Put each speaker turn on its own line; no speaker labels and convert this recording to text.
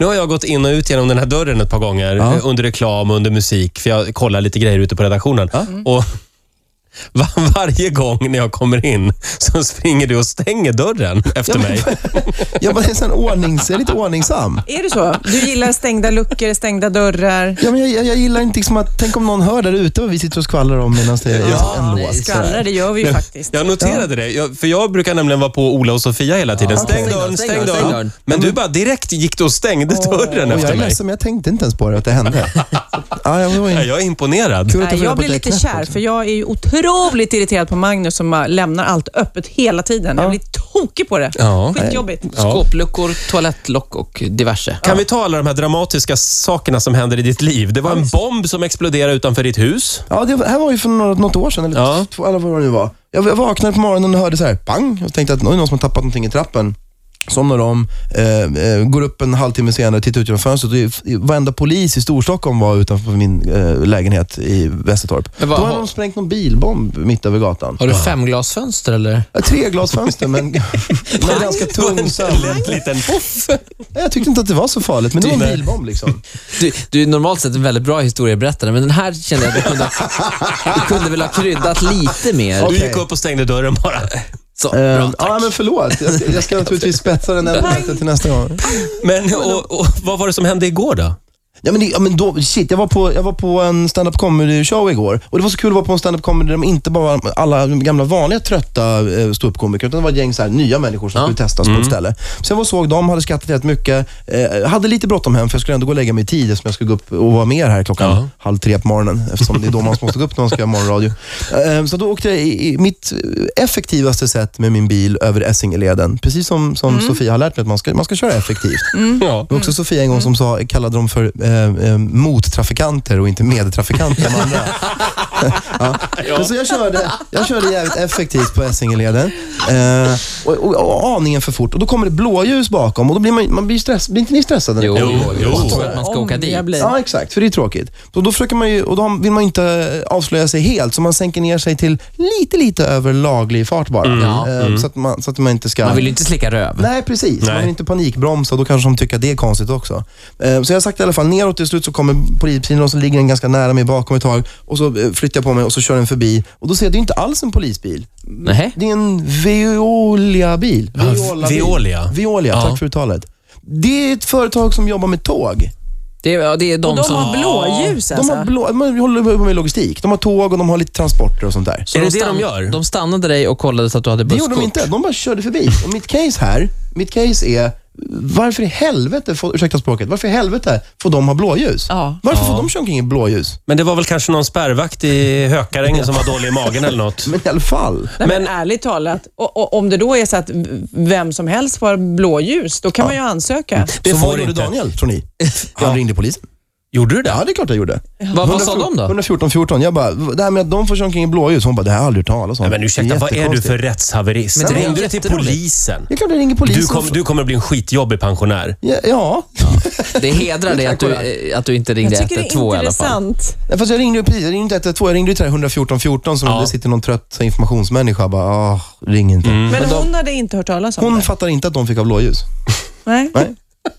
Nu har jag gått in och ut genom den här dörren ett par gånger
Ja.
eh, under reklam och under musik, för jag kollar lite grejer ute på redaktionen. Mm. Och var, varje gång när jag kommer in så springer du och stänger dörren efter mig.
Ja, men jag är, sån ordnings, jag är lite ordningsam.
Är det så? Du gillar stängda luckor, stängda dörrar.
Ja, men jag, jag, jag gillar inte liksom att, tänk om någon hör där ute vad vi sitter och skvallrar om medan det är en låt.
Skvallrar, det gör vi ju faktiskt.
Jag noterade det, jag, för jag brukar nämligen vara på Ola och Sofia hela tiden.
Ja,
stäng
okej.
dörren,
Stäng
stäng
dörren, stäng
dörren.
dörren.
Men du bara direkt gick du och stängde dörren
Och jag
efter
är
mig.
ledsen, men jag tänkte inte ens på det, att det hände. ja, jag var
Ja,
in...
Jag är imponerad.
Kul att ta
Nej,
reda
jag
på
blir
att det är
lite
knäppt
kär,
också.
för jag är ju otroligt irriterad på Magnus som bara lämnar allt öppet hela tiden. Jag blir tokig på det.
Ja.
Skitjobbigt.
Ja.
Skåpluckor, toalettlock och diverse.
Kan vi ta alla de här dramatiska sakerna som händer i ditt liv? Det var en bomb som exploderade utanför ditt hus.
Ja, det här var ju för något, något år sedan, eller
Ja.
två, eller vad det nu var. Jag jag vaknade på morgonen och hörde så här, pang, och tänkte att "Oj, någon som har tappat någonting i trappen. Somnar om, eh, eh, går upp en halvtimme senare och tittar ut genom fönstret. Och det- varenda polis i Storstockholm var utanför min eh, lägenhet i Västertorp.
Men
Då
vad-
hade de sprängt någon bilbomb mitt över gatan.
Har du femglasfönster eller?
Ja, Tre glasfönster, men med ganska tung sömn.
En lätt liten poff.
Nej, Jag tyckte inte att det var så farligt, men det var en bilbomb liksom.
Du, du är normalt sett en väldigt bra historieberättare, men den här kände jag att du kunde, du kunde väl ha kryddat lite mer.
Du
Okej.
gick upp och stängde dörren bara.
Så,
Eh,
bra,
ja,
tack.
men förlåt. Jag ska, jag ska naturligtvis spetsa den här berättelsen till nästa gång.
Men och, och, vad var det som hände igår då?
Ja, men, det, ja, men då, shit, jag var på, jag var på en stand-up comedy show igår och det var så kul att vara på en stand-up comedy där de inte bara var alla gamla vanliga trötta eh, ståuppkomiker utan det var ett gäng så här, nya människor som skulle testas på ett ställe. Så jag var och såg dem, hade skrattat rätt mycket, eh, hade lite bråttom hem för jag skulle ändå gå och lägga mig i tid eftersom jag skulle gå upp och vara med er här klockan
Ja.
halv tre på morgonen eftersom det är då man måste gå upp när man ska göra morgonradio. Eh, så då åkte jag i, i mitt effektivaste sätt med min bil över Essingeleden, precis som, som Sofia har lärt mig att man ska, man ska köra effektivt.
Ja.
Det var också Sofia en gång som sa, kallade dem för eh, eh, mottrafikanter och inte medtrafikanter. de andra. ja. Men Så jag körde, jag körde jävligt effektivt på Essingeleden eh, och, och, och aningen för fort. Och Då kommer det blåljus bakom och då blir man, man blir stress, blir inte ni stressade? när det
Jo,
kommer
jo,
blåljus?
jo.
Jo.
Jag tror att man ska åka
Om
dit.
jag blir-
Ja, exakt. För det är tråkigt. Så då, försöker man ju, och då vill man ju inte avslöja sig helt, så man sänker ner sig till lite, lite över laglig fart bara.
Mm. Ja.
Eh, Så, att man, så att man inte ska...
Man vill ju inte slicka röv.
Nej, precis. Man
Nej.
vill inte panikbromsa. Då kanske de tycker att det är konstigt också. Eh, Så jag har sagt i alla fall neråt. Till slut så kommer polisbilen och så ligger den ganska nära mig bakom ett tag. Och så eh, flyttar jag på mig och så kör den förbi. Och då ser jag, det är ju inte alls en polisbil.
Nej.
Det är en Veolia-bil. Veola-bil.
Veolia.
Veolia,
Ja.
tack för uttalet. Det är ett företag som jobbar med tåg.
Det, är- ja, det är de,
Och de
som...
har blåljus
De
alltså.
har blå, man håller på med logistik. De har tåg och de har lite transporter och sånt där.
Så
Är det det de
stann-
gör?
De stannade dig och kollade så att du
Det
hade busskort.
gjorde de inte. De bara körde förbi. Och mitt case här, mitt case är varför i helvete, får, ursäkta språket, varför i helvete får de ha blåljus?
Ja.
Varför får de köra omkring i blåljus?
Men det var väl kanske någon spärrvakt i Hökarängen som var dålig i magen eller något.
Men i alla fall.
Nej, men, ärligt talat, och, och, om det då är så att v- vem som helst får blåljus, då kan man ju ansöka.
Det
så
får
vad gjorde
inte.
Daniel, tror ni? Han ringde polisen.
Gjorde du det?
Ja, det är klart jag gjorde.
Vad, vad sa de då?
114 14. Jag bara, det här med att de får köra omkring i blåljus. Hon bara, det här har jag aldrig hört talas om.
Nej, men ursäkta,
Det
vad är du
jättekonstigt.
för rättshaverist?
Men det är
Ringde du till
jätteroligt.
polisen?
Det är klart jag ringer polisen.
Du, kom, du kommer att bli en skitjobbig pensionär.
Ja, ja.
Det hedrar dig att du, eh, att du inte ringde
Jag tycker det
112
är
i alla fall.
intressant.
Nej, Fast jag ringde ju precis, jag ringde inte 112, jag ringde ju till det här 114 14 som
Ja.
det sitter någon trött informationsmänniska och bara, ah, ring inte.
Mm.
Men hon hade inte hört talas om
Hon
det.
fattar inte att de fick ha blåljus.
Nej.
Nej.